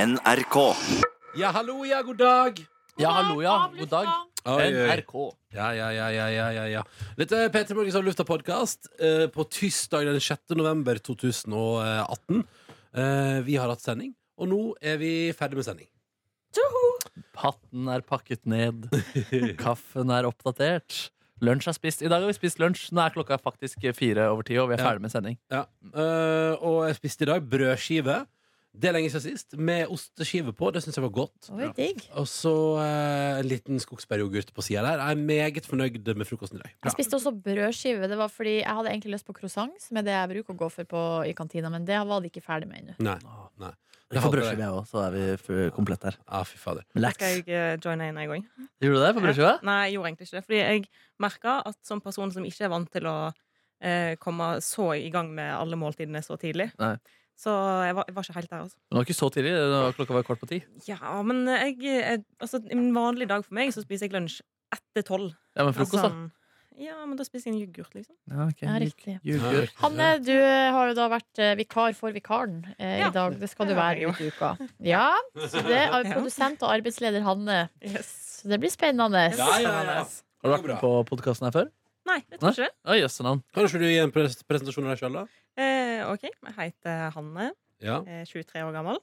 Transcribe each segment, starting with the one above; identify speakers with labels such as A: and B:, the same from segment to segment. A: NRK.
B: Ja, hallo, ja, god dag.
C: Ja, hallo, ja. God dag.
B: Oi, oi.
C: NRK.
B: Ja, ja, ja, ja, ja, ja, ja. Dette er Peter Morgens av Lufta-podkast eh, på tirsdag den 6. november 2018. Eh, vi har hatt sending, og nå er vi ferdig med sending.
C: Hatten er pakket ned. Kaffen er oppdatert. Lunsj er spist. I dag har vi spist lunsj. Nå er klokka faktisk fire over ti, og vi er
B: Ja.
C: ferdig med sending.
B: Ja. Eh, og jeg spiste i dag brødskive. Det er lenge siden sist. Med osteskive på. Det syns jeg var godt.
D: Oi, digg.
B: Og så eh, en liten skogsbæryoghurt på sida der. Jeg er meget fornøyd med frokosten i dag.
D: Jeg spiste også brødskive. Det var fordi Jeg hadde egentlig lyst på croissant, som er det jeg bruker å gå for på, i kantina, men det var de ikke ferdig med ennå.
B: Nei. Nei. Det hadde
C: får
B: jeg.
C: brødskive, jeg òg, så er vi f- komplett her.
B: Ja, fy fader.
C: Relax.
E: Skal jeg eh, joine inn en gang?
C: Gjorde du det på brødskiva?
E: Nei, jeg gjorde egentlig ikke det. Fordi jeg merka at som person som ikke er vant til å eh, komme så i gang med alle måltidene så tidlig
C: Nei.
E: Så jeg var, jeg var ikke helt der, altså.
C: Det var ikke så tidlig. det var- Klokka var kvart på ti.
E: Ja, men jeg, jeg Altså, en vanlig dag for meg, så spiser jeg lunsj etter tolv.
C: Ja, men frokost, da.
E: Sånn- Ja, men da spiser jeg en yoghurt, liksom.
C: Ja, ok.
D: Ja, riktig.
C: Yoghurt.
D: Hanne, du har jo da vært eh, vikar for vikaren eh,
E: Ja.
D: i dag. Det skal du
E: Det har jeg
D: være
E: jo.
D: ut i uka. Ja, så det er produsent og arbeidsleder Hanne.
E: Yes.
D: Så det blir spennende.
B: Ja, ja, ja.
C: Har du vært med på podkasten her før?
E: Nei, jeg tror ikke det.
C: Å, jøsse navn.
B: Kan ikke du gi en pres- presentasjon av deg sjøl, da?
E: Eh, OK. Jeg heter Hanne,
B: Ja.
E: er 23 år gammel,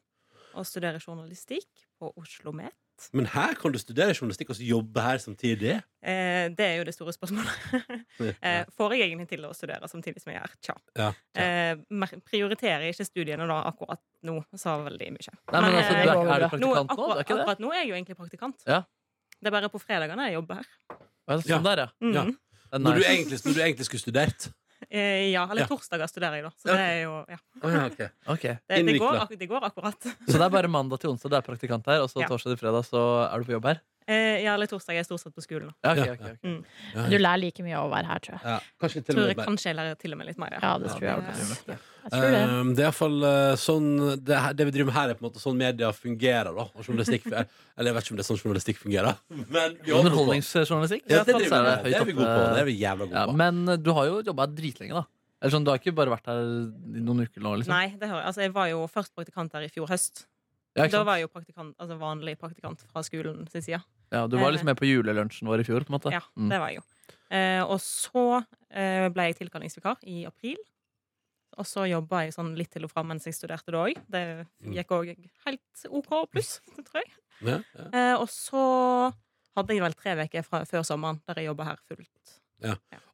E: og studerer journalistikk på Oslo Met.
B: Men her kan du studere journalistikk og så jobbe her samtidig?
E: Eh, det er jo det store spørsmålet. Eh, Får jeg egentlig til å studere samtidig som jeg er tja?
B: Ja, ja.
E: Eh, mer- prioriterer ikke studiene da akkurat nå, sa veldig mye.
C: Nei, men
E: Men,
C: altså,
E: eh,
C: du er, er du
D: nå-
E: nå,
C: praktikant nå? Du
E: akkurat,
C: er ikke det?
E: akkurat nå er jeg jo egentlig praktikant.
C: Ja.
E: Det er bare på fredagene jeg jobber her.
C: Ja,
B: Ja.
C: Sånn der, ja.
E: Mm.
B: Ja.
E: Ja.
C: Det er
B: Når, du
C: nice.
B: egentlig, når du egentlig skulle studert.
E: Eh, ja, eller
B: Ja.
E: torsdager studerer jeg, da. Så
B: Ja.
E: det er jo ja.
C: Ok.
E: det, det, går,
B: Innviklet.
E: ak- det går akkurat.
C: Så det er bare mandag til onsdag du er praktikant her, og så
E: Ja.
C: torsdag til fredag så er du på jobb her?
E: Eh, ja, eller torsdag er jeg stort sett på skolen. Da.
C: Ja, ok,
B: Ja.
C: ok, ok.
D: Du lærer like mye av å være her, tror jeg.
B: Ja, kanskje til og
E: Tror jeg
B: med bare.
E: kanskje jeg lærer til og med litt mer. Eh,
D: Ja, det tror jeg
E: det-
D: også. Jeg tror det.
B: Um, det er iallfall sånn det, her, det vi driver med her, er på en måte sånn media fungerer. da og journalistikk, Eller jeg vet ikke om det er sånn journalistikk fungerer. Men vi holder på.
C: Underholdningsjournalistikk?
B: Ja, det,
C: Så
B: driver vi med.
C: høyt
B: det er vi gode på.
C: oppe.
B: Det er vi jævla gode
C: Ja,
B: på.
C: men eh, du har jo jobba her dritlenge, da. Eller sånn, Du har ikke bare vært her i noen uker nå? liksom
E: Nei, det hører jeg. Altså, jeg var jo først praktikant her i fjor høst.
C: ja, ikke
E: Da
C: sant?
E: var jeg jo praktikant, altså vanlig praktikant fra skolen sin side.
C: ja, Du var liksom med på julelunsjen vår i fjor? på en måte
E: Ja,
C: Mm.
E: det var jeg jo. Eh, og så eh, ble jeg tilkallingsvikar i april. Og så jobba jeg sånn litt til og fra mens jeg studerte da òg. Det
B: Mm.
E: gikk òg helt OK pluss, tror jeg.
B: Ja, ja.
E: Eh, og så hadde jeg vel tre uker fra- før sommeren der jeg jobba her fullt.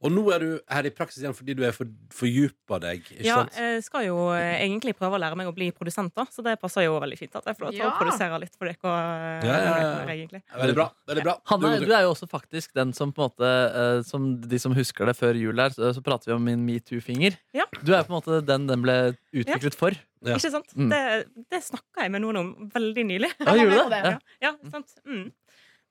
B: Og nå er du her i praksis igjen fordi du er for, fordypa deg. Ikke
E: ja,
B: sant?
E: jeg skal jo eh, egentlig prøve å lære meg å bli produsent, da, så det passer jo veldig fint at jeg får lov til
D: Ja.
E: å produsere litt for dere. Og,
B: Ja, ja, ja.
E: og dere, egentlig.
B: Veldig bra. veldig bra
C: Hanne,
B: Du-
C: du er jo også faktisk den som på en måte eh, Som de som husker det før jul her, så, så prater vi om min metoo-finger.
E: Ja.
C: Du er på en måte den den ble utviklet for.
B: Ja.
E: Ikke sant?
C: Mm.
E: Det, det snakka jeg med noen om veldig nylig.
C: Ja, gjorde
D: det?
C: Ja.
E: Ja, sant? Mm.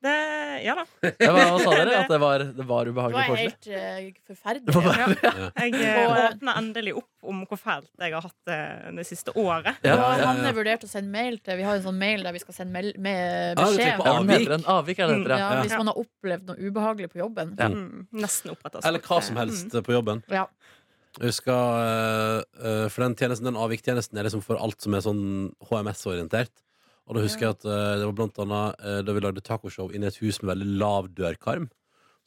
E: Det, ja da.
C: Ja, hva, hva sa dere? At det var, det var
D: Det var
C: ubehagelig koselig?
D: helt eh, forferdelig.
C: Det var
E: Ja. Jeg eh,
D: Og-
E: åpna endelig opp om hvor fælt jeg har hatt det det siste året.
C: Ja,
D: Og
C: ja,
B: ja.
D: Hanne vurderte å sende mail til Vi har en sånn mail der vi skal sende mel med
B: Ja, du
D: beskjed.
B: tenker på
C: ja, hva
B: Avvik.
C: heter den? Avvik er det heter,
D: Ja,
B: Ja.
D: hvis man har opplevd noe ubehagelig på jobben.
C: Ja.
E: Mm, nesten oppretta.
B: Eller hva som
E: Mm.
B: helst på jobben.
D: Ja.
B: Jeg husker, eh, eh, for den tjenesten, den avviktjenesten er liksom for alt som er sånn HMS-orientert. Og da husker jeg at eh, det var blant annet eh, da vi lagde tacoshow inne i et hus med veldig lav dørkarm,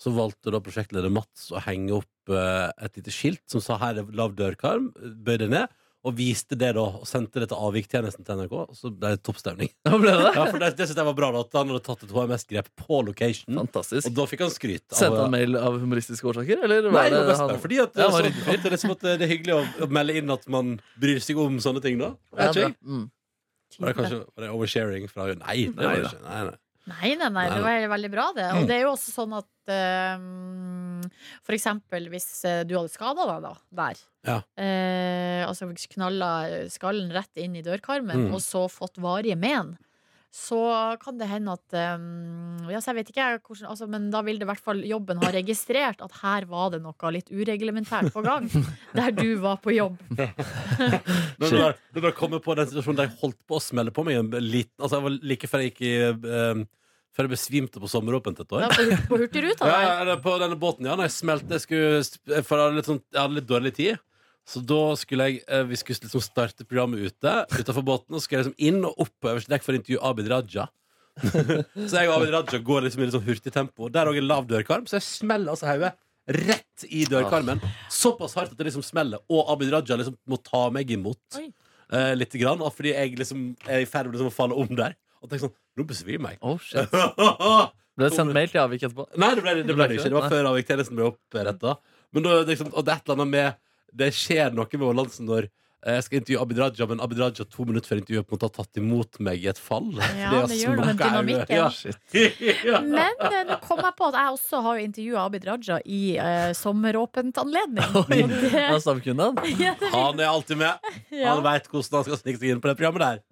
B: så valgte da prosjektleder Mats å henge opp eh, et lite skilt som sa 'her er lav dørkarm', bøy deg ned, og viste det da, og sendte det til avviktjenesten til NRK, og så ble det toppstemning.
C: ja. Hva ble det?
B: Ja, for det, det synes jeg var bra, da, at han hadde tatt et HMS-grep på location, og
C: Fantastisk.
B: da fikk han skryt. av-
C: Sendte han mail av humoristiske årsaker? Eller
B: Nei,
C: var
B: det var
C: det
B: best
C: han
B: bare fordi at,
C: Ja, han var
B: så-
C: ryddig fyr.
B: at det, er liksom at det er hyggelig å, å melde inn at man bryr seg om sånne ting, da.
C: Ja,
B: Vet ikke
C: bra.
B: jeg.
C: Mm.
B: Var det kanskje var det oversharing fra Nei, det var
C: Nei
B: det
C: da.
B: ikke. Nei, nei.
D: Nei, nei, nei,
B: Nei,
D: det
B: nei. Mm.
D: var veldig bra det. Og det er jo også sånn at eh, for eksempel hvis eh, du hadde skada deg da, der.
B: Ja.
D: Eh, altså knalla skallen rett inn i dørkarmen,
B: Mm.
D: og så fått varige men. Så kan det hende at eh, ja, så Jeg vet ikke jeg hvordan altså, Men da vil det i hvert fall jobben ha registrert at her var det noe litt ureglementært på gang. Der du var på jobb.
B: Når du bare- Når du bare kommer på den situasjonen der jeg holdt på å smelle på meg en liten Altså, jeg var like før jeg gikk i eh, Før jeg besvimte på sommeråpent et
D: Ja,
B: år.
D: på, hur- på Hurtigruta
B: Ja,
D: der.
B: eller på denne båten, ja. Når jeg smelte, jeg skulle, for jeg hadde litt, sånn, jeg hadde litt dårlig tid. Så da skulle jeg eh, Vi skulle liksom starte programmet ute Utenfor båten, og så skulle jeg liksom inn og opp på øverste dekk for å intervjue Abid Raja. så jeg og Abid Raja går liksom i litt sånn hurtig tempo. Der òg er lav dørkarm, så jeg smeller altså hodet rett i dørkarmen. Såpass hardt at det liksom smeller, og Abid Raja liksom må ta meg imot.
E: Oi.
B: Eh, litt grann, og fordi jeg liksom er i ferd med liksom å falle om der. Og tenker sånn Nå besvimer jeg.
C: Oh, shit. Ble det sendt mail til avvik etterpå?
B: Nei, det ble det, det, ble det ikke. Det var før avviktjenesten ble oppretta. Men da, liksom, og det er et eller annet med Det skjer noe med balansen når eh, jeg skal intervjue Abid Raja, men Abid Raja to minutter før intervjuet på en måte har tatt imot meg i et fall.
D: Ja,
B: er å
D: det gjør noe med
B: smokke
D: dynamikken.
B: øyet. Ja. ja.
D: Men eh, nå kom jeg på at jeg også har intervjua Abid Raja i eh, sommeråpent anledning.
C: Oi,
D: Og det-
C: hva savkunde han?
D: Ja, det-
B: Han er alltid med.
D: ja,
B: Han
D: det
B: veit hvordan han skal snike seg inn på det programmet der.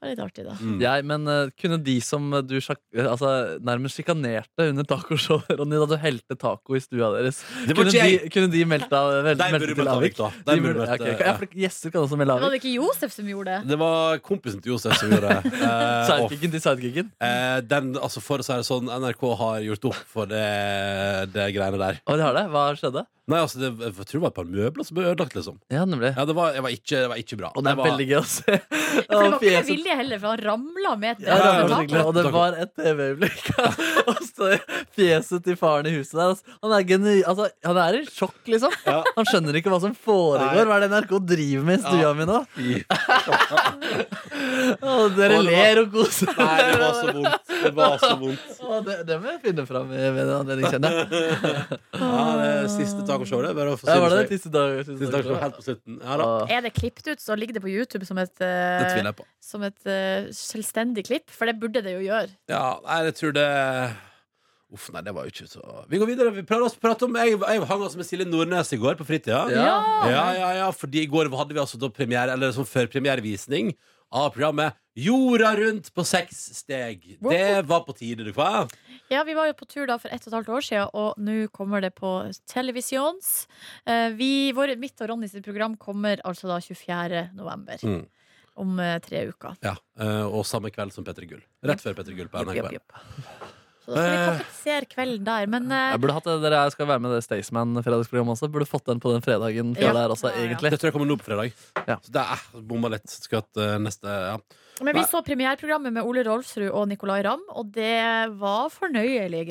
D: var litt artig, da.
B: Mm.
C: Jeg, men eh, kunne de som du sjak, eh, altså, nærmest sjikanerte under tacoshowet, Ronny, da du helte taco i stua deres,
B: Det var
C: kunne
B: ikke
C: de,
B: jeg.
C: kunne de meldt av vel,
B: De
C: meldt
B: burde
C: til
B: møtt
C: avvik?
B: Avik, da.
C: De
B: De burde møtt,
C: burde- ok, ok. Ja,
B: eh,
C: for Gjester kan også melde
D: Var
C: avvik.
D: det ikke Josef som gjorde det?
B: Det var kompisen til Josef som gjorde det. Eh, og
C: Sidekicken til sidekicken.
B: Eh, den, altså for å si det sånn, NRK har gjort opp for det, det greiene der.
C: Å, de har det? Hva skjedde?
B: Nei, altså, det, jeg tror det var et par møbler som ble ødelagt, liksom.
C: Ja, nemlig.
B: Ja, det var, jeg var ikke, det var ikke bra.
C: Og det er
B: Jeg var,
C: veldig gøy å se.
D: For det
C: Og
D: var ikke med
C: fjeset-
D: vilje heller, for han ramla med et
C: Ja, det var
B: Ja,
C: veldig hyggelig,
D: taco.
C: og det var et TV-øyeblikk. Og så fjeset til faren i huset der. Altså, han, er geni altså, han er i sjokk, liksom.
B: Ja.
C: Han skjønner ikke hva som foregår. Hva er det NRK driver med i stua
B: Ja.
C: mi nå? Og dere
B: Og det var-
C: ler og koser
B: Nei, det var så vondt. Det var så vondt.
C: Å, det, det må jeg finne fram i ved en anledning, kjenner jeg.
B: Ja, det siste tacoshowet. Bare å få
C: Ja, var det
B: siste,
C: det siste dag? Siste
B: siste
C: dag
B: tacoshowet helt på slutten. Ja da.
C: Å,
D: Er det klippet ut, så ligger det på YouTube som et,
B: Det
D: eh,
B: tviler jeg på.
D: som et eh, selvstendig klipp. For det burde det jo gjøre.
B: Ja, nei, jeg tror det Uff, nei, det var jo ikke så Vi går videre. Vi prøver også å prate om Jeg, jeg hang altså med Silje Nordnes i går på fritida.
C: Ja.
B: Ja, ja, ja, fordi i går hadde vi altså da premiere, eller sånn førpremierevisning av programmet Jorda rundt på seks steg.
D: Wow.
B: Det var på tide, du hva?
D: Ja, Vi var jo på tur da for ett og et halvt år siden, og nå kommer det på televisjons. Eh, Vi, vår, mitt og Ronny sitt program kommer altså da 24. november.
B: Mm.
D: Om eh, tre uker.
B: Ja, eh, og samme kveld som Petter Gull. Rett før Petter Gull på
D: Jupp, jupp,
B: NRK.
D: jupp. Så da skal vi
B: Eh.
D: kompensere kvelden der. Men eh,
C: Jeg burde hatt det, Dere skal være med i det Staysman-fredagsprogrammet også. Burde fått den på den fredagen.
D: Ja.
C: Ja. Der også,
E: Ja, ja.
C: egentlig
B: Det tror jeg kommer nå på fredag.
C: Ja.
B: Så det er eh, bomma litt. Skulle hatt eh, neste ja.
D: Men vi
B: Nei.
D: så premierprogrammet med Ole Rolfsrud og Nicolay Ramm, og det var fornøyelige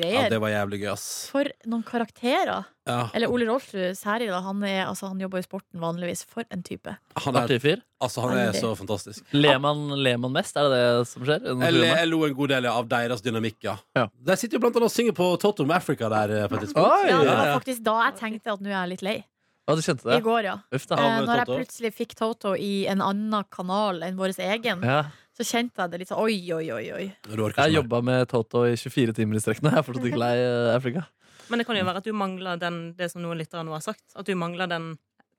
B: ja,
D: greier.
B: det var jævlig gøy, ass.
D: For noen karakterer.
B: Ja,
D: Eller Ole Rolfsrud særlig, da. Han, er, altså, han jobber i sporten vanligvis. For en type.
B: han, er,
C: Artig fyr.
B: altså, han er
D: Veldig.
B: så fantastisk.
C: Ler man, ler man mest? Er det det som skjer? under
B: Jeg,
C: programmet?
B: jeg lo en god del av deres dynamikk, ja.
C: Ja.
B: De sitter jo blant annet og synger på Toto med Africa der. eh, På et tidspunkt.
C: Oi!
D: Ja, det
B: ja.
D: var faktisk da jeg tenkte at nå er jeg litt lei.
C: Ja, du kjente
D: I
C: det?
D: går, ja.
C: Uff da.
B: Ja,
D: Eh,
B: med
D: når jeg
B: Toto.
D: plutselig fikk Toto i en annen kanal enn vår egen,
C: Ja.
D: så kjente jeg det litt sånn oi, oi, oi. oi.
B: Du orker ikke
C: Jeg
B: mer.
C: jobba med Toto i 24 timer i strekk nå. Jeg er fortsatt ikke lei eh, Afrika.
E: Men det kan jo være at du mangler den, det som noen lyttere nå har sagt. At du mangler den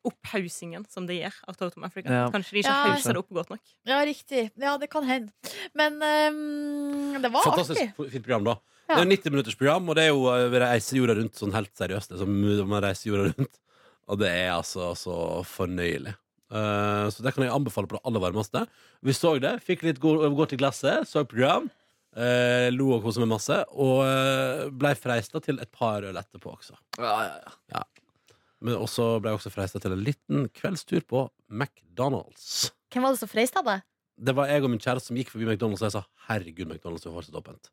E: opphaussingen som de gjør av Totem Africa.
C: Ja.
E: Kanskje de ikke
D: Ja.
E: hauser det opp godt nok.
D: Ja, riktig. Ja, det kan hende. Men ehm, det var artig.
B: Fantastisk f- fint program, da.
D: Ja.
B: Det er jo 90 minutters program, og det er jo eh, vi reiser jorda rundt sånn helt seriøst. Det er som om man reiser jorda rundt. Og det er altså så fornøyelig. Eh, så det kan jeg anbefale på det aller varmeste. Vi så det, fikk litt gå- godt i glasset, så program. eh, lo og kosa meg masse, og eh, blei freista til et par øl etterpå også.
C: Ja, ja, ja.
B: Men også blei jeg også freista til en liten kveldstur på McDonald's.
D: Hvem var det som freista deg?
B: Det var jeg og min kjæreste som gikk forbi McDonald's, og jeg sa 'herregud, McDonald's er fortsatt åpent'.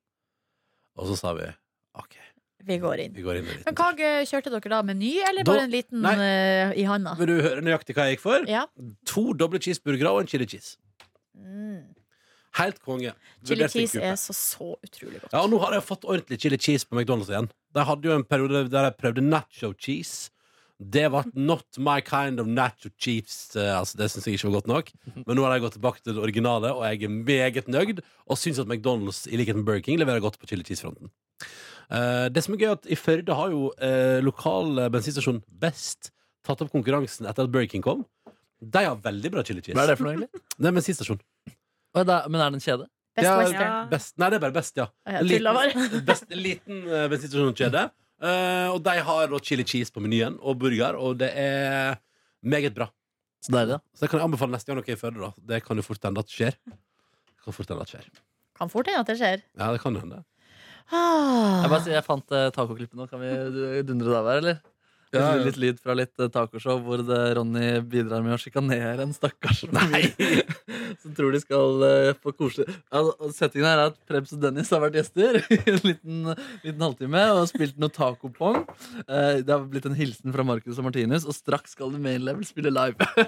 B: Og så sa vi 'OK,
D: Vi går inn.
B: vi går inn en liten
D: Men hva eh, kjørte dere da? Meny, eller
B: Da-
D: bare en liten
B: Nei.
D: eh, i handa?
B: Vil du høre nøyaktig hva jeg gikk for?
D: Ja.
B: To doble cheeseburgere og en chili cheese.
D: Mm.
B: Helt konge.
D: Chili
B: Vurderte
D: cheese
B: kuppet.
D: er så, så utrolig godt.
B: Ja, og Nå har jeg fått ordentlig chili cheese på McDonald's igjen. De hadde jo en periode der jeg prøvde nacho cheese. Det var not my kind of nacho cheese. Eh, Altså, det syns jeg ikke var godt nok. Men nå har jeg gått tilbake til det originale, og jeg er meget nøyd. Og syns at McDonald's i likhet med Burger King leverer godt på chili cheese-fronten. Eh, det som er gøy, er at i Førde har jo eh, lokal eh, bensinstasjon Best tatt opp konkurransen etter at Burger King kom. De har veldig bra chili cheese.
C: Hva er det for noe, egentlig?
B: Det er en bensinstasjon.
C: Å, det er- Men er det en kjede?
D: Best
B: Ja,
D: Western.
B: Best. Nei, det er bare Best, ja.
D: Jeg tulla bare.
B: Best, liten uh, bensinstasjonskjede. Eh, og de har da chili cheese på menyen, og burger, og det er meget bra.
C: Så deilig, da.
B: Så det kan jeg anbefale neste gang dere er i Førde. da. Det kan jo fort hende at skjer. Det Kan fort hende at skjer.
D: Kan fort hende at det skjer.
B: Ja, det kan hende.
C: Jeg, bare,
D: Ah.
C: sier, jeg fant eh, tacoklippet nå. Kan vi du- dundre det av her, eller?
B: Ja, ja.
C: Litt lyd fra litt eh, tacoshow hvor det, Ronny bidrar med å sjikanere en stakkars familie som tror de skal eh, få koselig altså, Settingen her er at Prebz og Dennis har vært gjester i en liten, liten halvtime og spilt noe tacopong. Eh, det har blitt en hilsen fra Marcus og Martinus, og straks skal The Main Level spille live.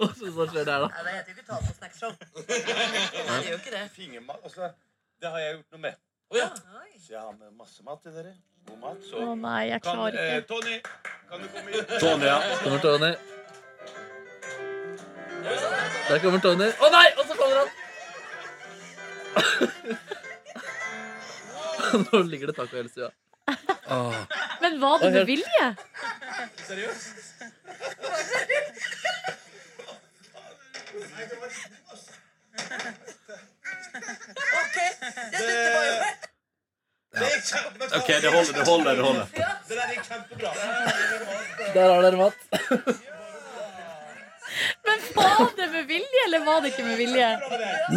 C: og så, så skjer det her, da.
A: Nei, det heter jo ikke tacosnackshow. Nei, det gjør ikke det.
F: Fingermat, altså, det har jeg gjort noe med. Så jeg har med masse mat til dere. God mat. Så
D: Å nei, jeg
F: kan,
D: klarer
F: eh,
D: ikke.
F: Tony, kan du komme inn? Tony, ja.
C: Kommer Tony. Der kommer Tony. Å nei! Og så kommer han. Nå ligger det taco i hele stua.
D: Men var det med vilje?
F: Det gikk kjempebra.
B: OK, det holder, det holder. det holder
F: Det der gikk kjempebra.
C: Der har dere mat.
D: Men var det med vilje, eller var det ikke med vilje?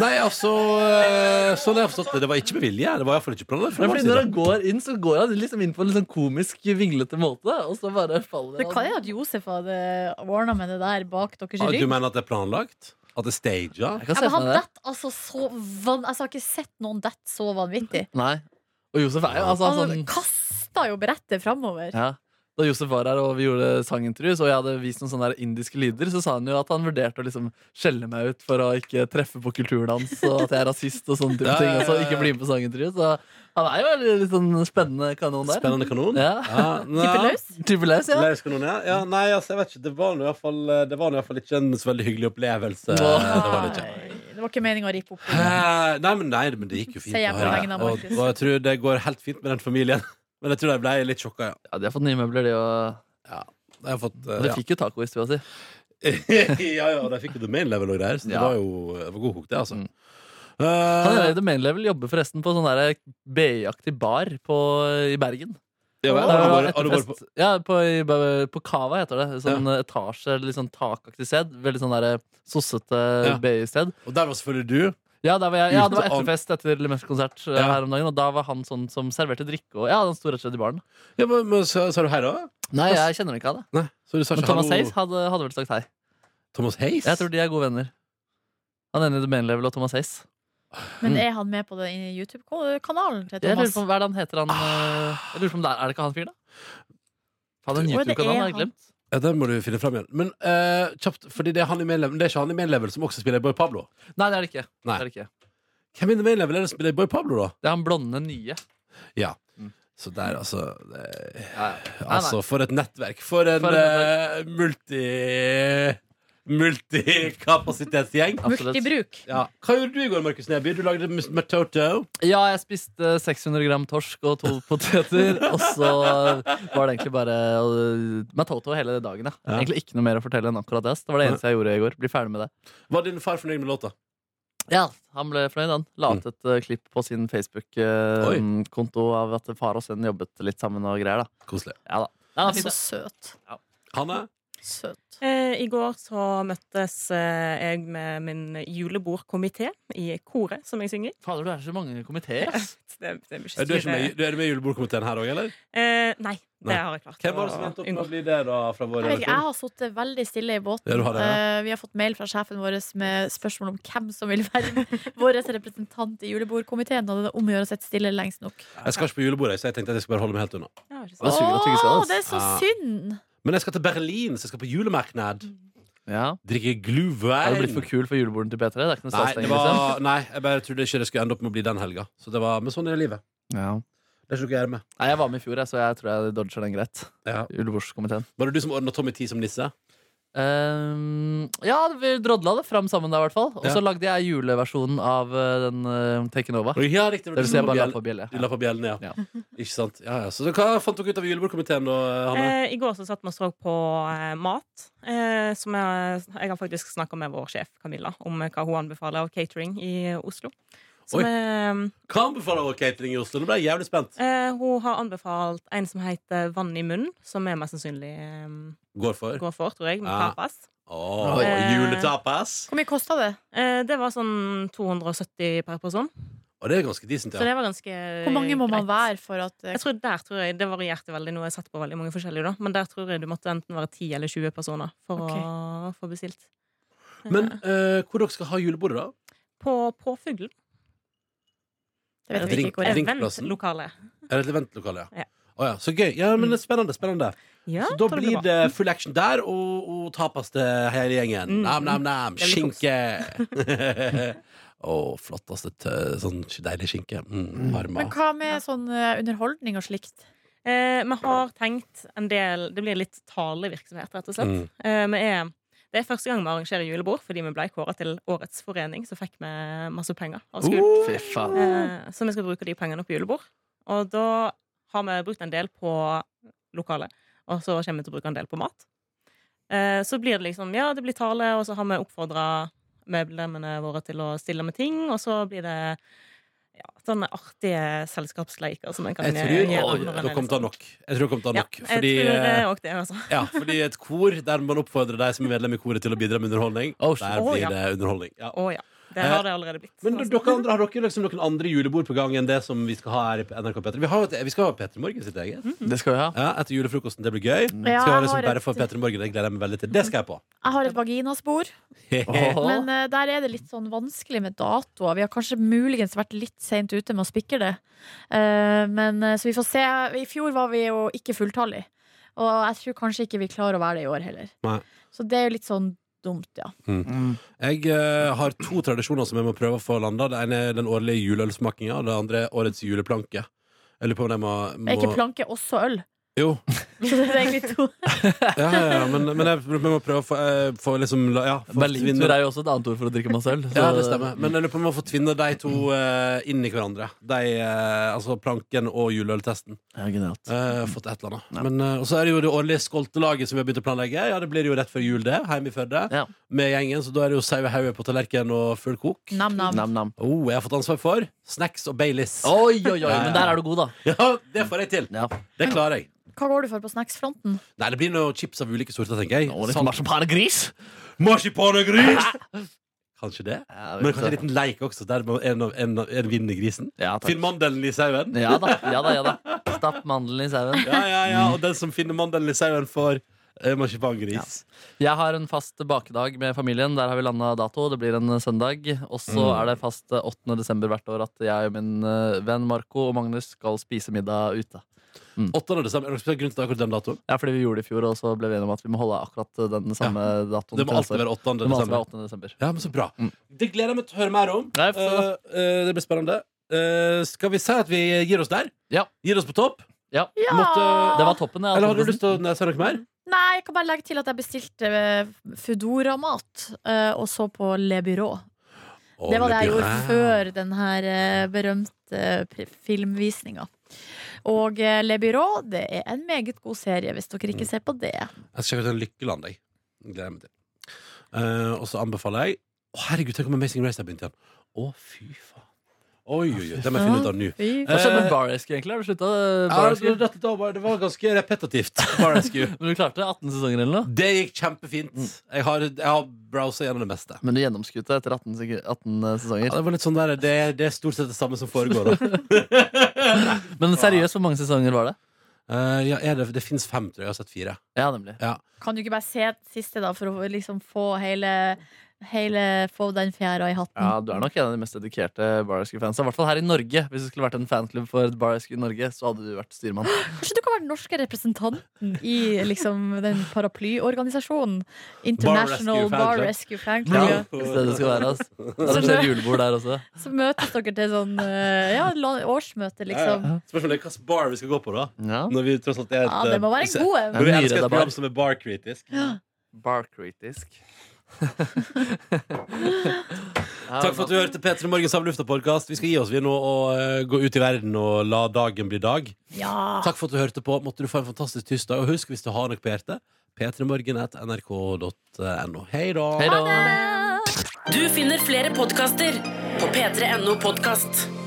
B: Nei, altså eh, Sånn har jeg forstått det. Det var ikke med vilje. Det var iallfall ikke planlagt. fra
C: Men
B: vår
C: fordi
B: side.
C: Når han går inn, så går han liksom inn på en litt sånn komisk, vinglete måte. Og så bare faller
D: Det kan jo at Josef hadde ordna med det der bak deres
B: Ah,
D: rygg.
B: Du mener at det er planlagt? At det er staga?
C: Jeg kan
D: Ja,
C: se
D: men
C: for
D: han
C: meg det.
D: dett altså så van... altså, Jeg har ikke sett noen dett så vanvittig.
C: Nei. Og Josef er jo altså,
D: Han
C: sånn
D: kasta jo brettet framover.
C: ja. Da Josef var her og vi gjorde sangintervjuer, og jeg hadde vist noen sånne der indiske lyder, så sa han jo at han vurderte å liksom skjelle meg ut for å ikke treffe på kulturdans, og at jeg er rasist og sånne type
B: Ja, ja,
C: ting.
B: ja,
C: Og så
B: ja.
C: ikke bli med på sangintervju. Så han er jo en litt sånn spennende kanon der.
B: Spennende kanon? Ah,
C: Ja.
D: Tipper
B: ja.
D: løs.
C: Type løs, ja.
B: Leirskolen, ja. ja. Nei, altså, jeg vet ikke. Det var nå i hvert fall- eh, det var nå i hvert fall ikke en så veldig hyggelig opplevelse.
C: Nei.
B: Det var det ikke.
D: Nei, det var ikke meninga å rippe opp. i.
B: Eh, Nei, men, nei, men det gikk jo fint.
D: Sier jeg på
B: Ja, ja.
D: vegne av
B: og,
D: Markus.
B: og jeg tror det går helt fint med den familien. Men jeg tror de ble litt sjokka, ja.
C: ja. De har fått nye møbler, de òg.
B: De har fått, eh,
C: De fikk jo taco i stua si.
B: ja. ja, ja, de fikk jo the main level og greier, så det
C: Ja.
B: var jo det var god hok, det, altså.
C: Mm.
B: Eh,
C: Han er i The Main Level jobber forresten på sånn der BI-aktig bar på, i Bergen.
B: ja, vel,
C: Der
B: har du
C: var
B: vært- har du vært på-
C: etterfest- Ja, på, i- på Kava heter det. Sånn etasje, litt sånn takaktig sted. Veldig sånn der sossete
B: Ja.
C: BI-sted.
B: Og der var selvfølgelig du.
C: Ja, der var jeg, ja, det var
B: Ute av-
C: etterfest etter Lemeff-konsert eh,
B: Ja.
C: her om dagen, og da var han sånn som serverte drikke og Ja, han sto rett og slett i baren.
B: Ja, men, men sa, sa du hei, da?
C: Nei, jeg kjenner ikke han, da.
B: Nei. Så du sa
C: Men
B: ikke
C: Thomas
B: hallo?
C: Hayes hadde, hadde vel sagt hei.
B: Thomas Hayes?
C: Jeg tror de er gode venner. Han ene i The Main Level og Thomas Hayes.
D: Men
B: Mm.
D: er han med på det i YouTube-kanalen til
C: Jeg lurer
D: Thomas?
C: på hva er det han heter han eh, Jeg lurer på om det er, er det ikke han fyren, da? Faen, den
D: Å, det er
C: YouTube-kanalen har jeg
D: han.
C: glemt.
B: Ja, den må du finne fram igjen. Men eh, kjapt, fordi det er, han i main level, det er ikke han i main level som også spiller Boy Pablo.
C: Nei, det er det ikke.
B: Nei.
C: Det er, det ikke.
B: Hvem i the main level er det som spiller Boy Pablo, da?
C: Det er han blonde nye.
B: Så der, altså det,
C: Ja, ja. Nei,
B: Altså,
C: nei.
B: for et nettverk. For en
C: For et
B: eh, multi... Multikapasitetsgjeng.
C: Absolutt.
D: Multibruk.
B: Ja. Hva gjorde du i går, Markus Neby? Du lagde mus- med Toto.
C: Ja, jeg spiste 600 gram torsk og to poteter, og så var det egentlig bare å- med Toto hele dagen. Ja.
B: Ja.
C: Egentlig ikke noe mer å fortelle enn akkurat det. ass. Det var det eneste jeg gjorde i går. Bli ferdig med det.
B: Var din far fornøyd med låta?
C: Ja, han ble fornøyd, han. La
B: Mm.
C: ut et eh, klipp på sin Facebook-konto av at far og sønn jobbet litt sammen og greier, da.
B: Koselig.
C: Ja da. Nei, det var fint, det.
D: Så Altså, søt.
B: Hanne?
D: Søt.
E: Eh, I går så møttes eh, jeg med min julebordkomité i koret som jeg synger i.
C: Fader, du er så mange komiteer, ass.
E: Det, det mye
B: Er du, ikke
E: styre.
B: med, du er med i julebordkomiteen her òg, eller?
E: Eh, nei,
B: Nei.
E: det har jeg klart
B: Hvem var det som endte opp med å bli det, da? Fra vår
D: Jeg, vet ikke, jeg
B: redaksjon?
D: har sittet veldig stille i båten.
B: Ja, du har det, ja.
D: Eh, Vi har fått mail fra sjefen vår med spørsmål om hvem som vil være med vår representant i julebordkomiteen. Og det er om å gjøre å sitte stille lengst nok.
B: Jeg skal ikke på julebordet, så jeg tenkte at jeg skulle bare holde meg helt unna.
E: Ja, ikke
C: Det
E: sant.
C: suger at du ikke skal,
D: Åh,
C: ass.
D: det er så
B: Ja.
D: synd!
B: Men jeg skal til Berlin, så jeg skal på julemarknad.
D: Mm.
C: Ja.
B: Drikke
C: Er
B: glühwein.
C: du blitt for kul for juleborden til P3? Det er ikke noe
B: Nei, det
C: statsstenging, liksom.
B: var, nei, jeg bare trodde ikke det skulle ende opp med å bli den helga. Så det var, men sånn er det i livet.
C: Ja.
B: Det er ikke noe å gjøre med.
C: Nei, jeg var med i fjor, jeg, så jeg tror jeg dodger den greit.
B: Ja.
C: Julebordskomiteen.
B: Var det du som ordna Tommy Tee som nisse?
C: Ehm, ja, vi drodla det fram sammen da, i hvert fall. Og så
B: Ja.
C: lagde jeg juleversjonen av eh, den uh, Taken Over.
B: Ja, riktig.
C: Det vil si, jeg bare la på bjelle.
B: Du la på bjellene, ja.
C: Ja.
B: Ikke sant. Ja, ja. Så hva fant dere ut av julebordkomiteen, da, Hanne?
E: Eh, I går så satt vi og så på eh, mat, eh, som jeg, jeg har faktisk snakka med vår sjef Camilla om hva hun anbefaler av catering i Oslo. Som
B: Oi.
E: er,
B: Hva anbefaler dere catering i Oslo? Nå ble jeg jævlig spent.
E: eh, hun har anbefalt en som heter Vann i munnen, som er mest sannsynlig eh,
B: Går for.
E: går for, tror jeg, med
B: Ja.
E: tapas.
B: Åh,
E: Eh.
B: juletapas.
D: Hvor mye kosta det?
E: Eh, det var sånn 270 per person.
B: Og det er ganske decent,
E: Så
B: ja.
E: det var ganske
C: Eh,
D: Hvor mange må man
E: greit.
D: være for at eh,
E: Jeg tror der tror jeg, Det varierte veldig. Nå har jeg sett på veldig mange forskjellige da Men der tror jeg du måtte enten være 10 eller 20 personer for å få bestilt.
B: Men
E: Eh,
B: eh, hvor dere skal ha julebordet, da?
E: på Påfuglen.
D: Det vet vi
B: Drink-
D: ikke hvor er.
B: drink- drinkplassen.
E: Eventlokalet.
B: Er det et eventlokale, ja?
E: Ja.
B: Å ja. Så gøy. Ja, men det er spennende. spennende
E: Ja,
B: Så da
E: tror jeg
B: blir
E: var.
B: det full action der, og, og tapas til hele gjengen.
E: Mm.
B: Nam, nam, nam.
E: Det blir kos.
B: Skinke! Å, flotteste tø- sånn deilig skinke. Mm, varma.
D: Men hva med sånn eh, underholdning og slikt?
E: Eh, vi har tenkt en del Det blir litt talevirksomhet, rett og slett.
B: Mm.
E: Eh, vi er, det er første gang vi arrangerer julebord, fordi vi ble kåra til Årets forening, så fikk vi masse penger av skolen.
B: Uh,
C: Fy faen.
E: Eh, så vi skal bruke de pengene på julebord. Og da har vi brukt en del på lokalet, og så kommer vi til å bruke en del på mat. Eh, så blir det liksom Ja, det blir tale, og så har vi oppfordra medlemmene våre til å stille med ting, og så blir det ja, sånne artige selskapsleiker som en kan
B: jeg tror
E: eh,
B: å,
E: når en er
B: dere kommer til å ha
E: liksom-
B: nok. Jeg tror dere kommer til å ha
E: Ja,
B: nok.
E: jeg
B: Fordi,
E: tror det
B: eh,
E: er også det, altså.
B: ja, fordi et kor der man oppfordrer de som er medlem i koret til å bidra med underholdning,
C: Oh, shit.
B: der
E: Å,
B: blir
E: ja.
B: det underholdning. Ja.
E: Å ja. Det har det allerede blitt.
B: eh, Men d- dere andre, har dere liksom noen andre julebord på gang enn det som vi skal ha her i NRK P3? Vi, har jo et- vi skal ha P3 Morgen sitt eget.
E: Mm.
C: Det skal vi ha.
B: Ja, etter julefrokosten. Det blir gøy.
D: Mm. Ja,
B: skal ha
D: jeg,
B: liksom
D: har
B: bare for
D: et,
B: P3 Morgen. Det gleder jeg meg veldig til. Det skal jeg på.
D: jeg har et vaginaspor,
C: Åh.
D: men eh, der er det litt sånn vanskelig med datoer. Vi har kanskje muligens vært litt seint ute med å spikre det. Eh, Men, eh, så vi får se. I fjor var vi jo ikke fulltallig, og jeg tror kanskje ikke vi klarer å være det i år heller.
B: Nei.
D: Så det er jo litt sånn dumt, ja.
C: Mm.
B: Jeg eh, har to tradisjoner som jeg må prøve å få landa. Det ene er den årlige juleølsmakinga, og det andre er årets juleplanke. Jeg lurer på om jeg må, må...
D: Er ikke planke også øl?
B: Jo.
D: Så det er egentlig to.
B: Ja, ja, ja, men, men jeg, jeg må prøve å få, eh, få liksom la- ja, få
C: Berlintur er jo også et annet ord for å drikke masse øl. så-
B: Ja, det stemmer. Men jeg lurer på om jeg må få tvinne de to eh, inn i hverandre. De, eh, altså planken og juleøltesten.
C: Ja, genialt.
B: Eh, fått et eller annet. Men, eh, og så er det jo det årlige skoltelaget som vi har begynt å planlegge. Ja, Det blir jo rett før jul, det. Hjemme i Førde.
C: Ja.
B: Med gjengen. Så da er det jo sau i hodet på tallerkenen og full kok.
D: Nam-nam.
C: Nam-nam.
B: Oh, jeg har fått ansvar for snacks og Baileys.
C: Oi, oi, oi,
B: Ja, ja.
C: men der er du god, da.
B: Ja, det får jeg til.
C: Ja.
B: Det klarer jeg.
D: Hva går du for på snacksfronten?
B: Nei, det blir noe chips av ulike sorter, tenker
C: Nå er
B: jeg.
C: det marsipan og gris.
B: Marsipan og gris! Kanskje det. Men kanskje en
C: litt
B: liten leik også, der man- en, av- en, av- en vinner grisen.
C: ja, takk.
B: Finn mandelen i sauen.
C: ja da, ja da. ja da Stapp mandelen i sauen.
B: Ja, ja, ja. Og den som finner mandelen i sauen, får eh, marsipangris.
C: Jeg har en fast bakedag med familien. Der har vi landa dato. Det blir en eh, søndag. Og så
B: Mm.
C: er det fast eh, 8. desember hvert år at jeg og min eh, venn Marco og Magnus skal spise middag ute.
B: 8. desember. Er det noen spesiell grunn til akkurat den datoen?
C: Ja, fordi vi gjorde det i fjor, og så ble vi enige om at vi må holde akkurat eh, den samme datoen.
B: Det må
C: til neste
B: alltid
C: år.
B: være 8.
C: det må alltid
B: desember.
C: være 8. desember.
B: Ja, men så bra.
C: Mm.
B: Det gleder jeg meg til å høre mer om.
C: Nei, for da-
B: Eh, eh, det blir spennende. Eh, skal vi si at vi gir oss der?
C: Ja.
B: Gir oss på topp?
C: Ja.
D: Ja!
B: Måtte-
C: Det var toppen. Ja,
B: Eller har du
C: Thoresen.
B: lyst til å si noe mer?
D: Nei, jeg kan bare legge til at jeg bestilte eh, Foodora-mat, eh, og så på Le Byrå. Det var det jeg gjorde før den her eh, berømte pri- filmvisninga. Og eh, Le Byrå, det er en meget god serie, hvis dere
C: Mm.
D: ikke ser på det.
B: Jeg skal sjekke ut en lykkeland, jeg. Gleder jeg meg til. Eh, og så anbefaler jeg Å, herregud, tenk om Amazing Race har begynt igjen. Å, fy faen. Oi, oi, oi. Det må jeg finne ut av nå.
D: Fy
C: Hva
D: faen.
C: skjedde med Bar Rescue, egentlig? Har du slutta? eh, Bar
B: Eh, Ja,
C: Rescue?
B: det, det var- det var ganske repetitivt. Bar Rescue.
C: Men du klarte 18 sesonger eller noe?
B: Det gikk kjempefint.
C: Mm.
B: Jeg har, jeg har browsa gjennom det meste.
C: Men du gjennomskutte etter 18, sek- 18
B: Ja,
C: sesonger.
B: det var litt sånn der, det, det er stort sett det samme som foregår. Da.
C: Men seriøst, hvor mange sesonger var det?
B: Eh, ja, er det det fins fem, tror jeg. Jeg har sett fire.
C: Ja, nemlig.
D: Kan du ikke bare se den siste, da, for å liksom få hele, hele Få den fjæra i hatten?
C: Ja, Du er nok en av de mest dedikerte Bar Rescue-fansa. I hvert fall her i Norge. Hvis det skulle vært en fanklubb for et Bar Rescue i Norge, så hadde du vært styremann.
D: Kanskje du kan være den norske representanten i liksom, den paraplyorganisasjonen? International
B: Bar
D: Bar
B: Rescue
D: Rescue Fan
C: Ja,
D: Club.
C: hvis det det skal være, ass. Arranger julebord der også.
D: Så møtes dere til sånn eh, ja, la- årsmøte, liksom.
B: Spørsmålet er hvilken bar vi skal gå på, da.
C: Ja.
B: Når vi tross alt er et eh,
D: Ja, det må være en god eh, en.
B: Når vi
C: Ja,
B: elsker
C: nyreda
B: et
C: bar.
B: program som er bar-kritisk.
C: Bar-kritisk.
B: Takk for at du hørte P3 Morgens Avlufta-podkast. Vi skal gi oss vi nå og eh, gå ut i verden og la dagen bli dag.
D: Ja.
B: Takk for at du hørte på. Måtte du få en fantastisk tirsdag. Og husk, hvis du har noe på hjertet, p3morgen.nrk.no. Hei da.
C: Hei da.
A: Du finner flere podkaster på p3.no podkast.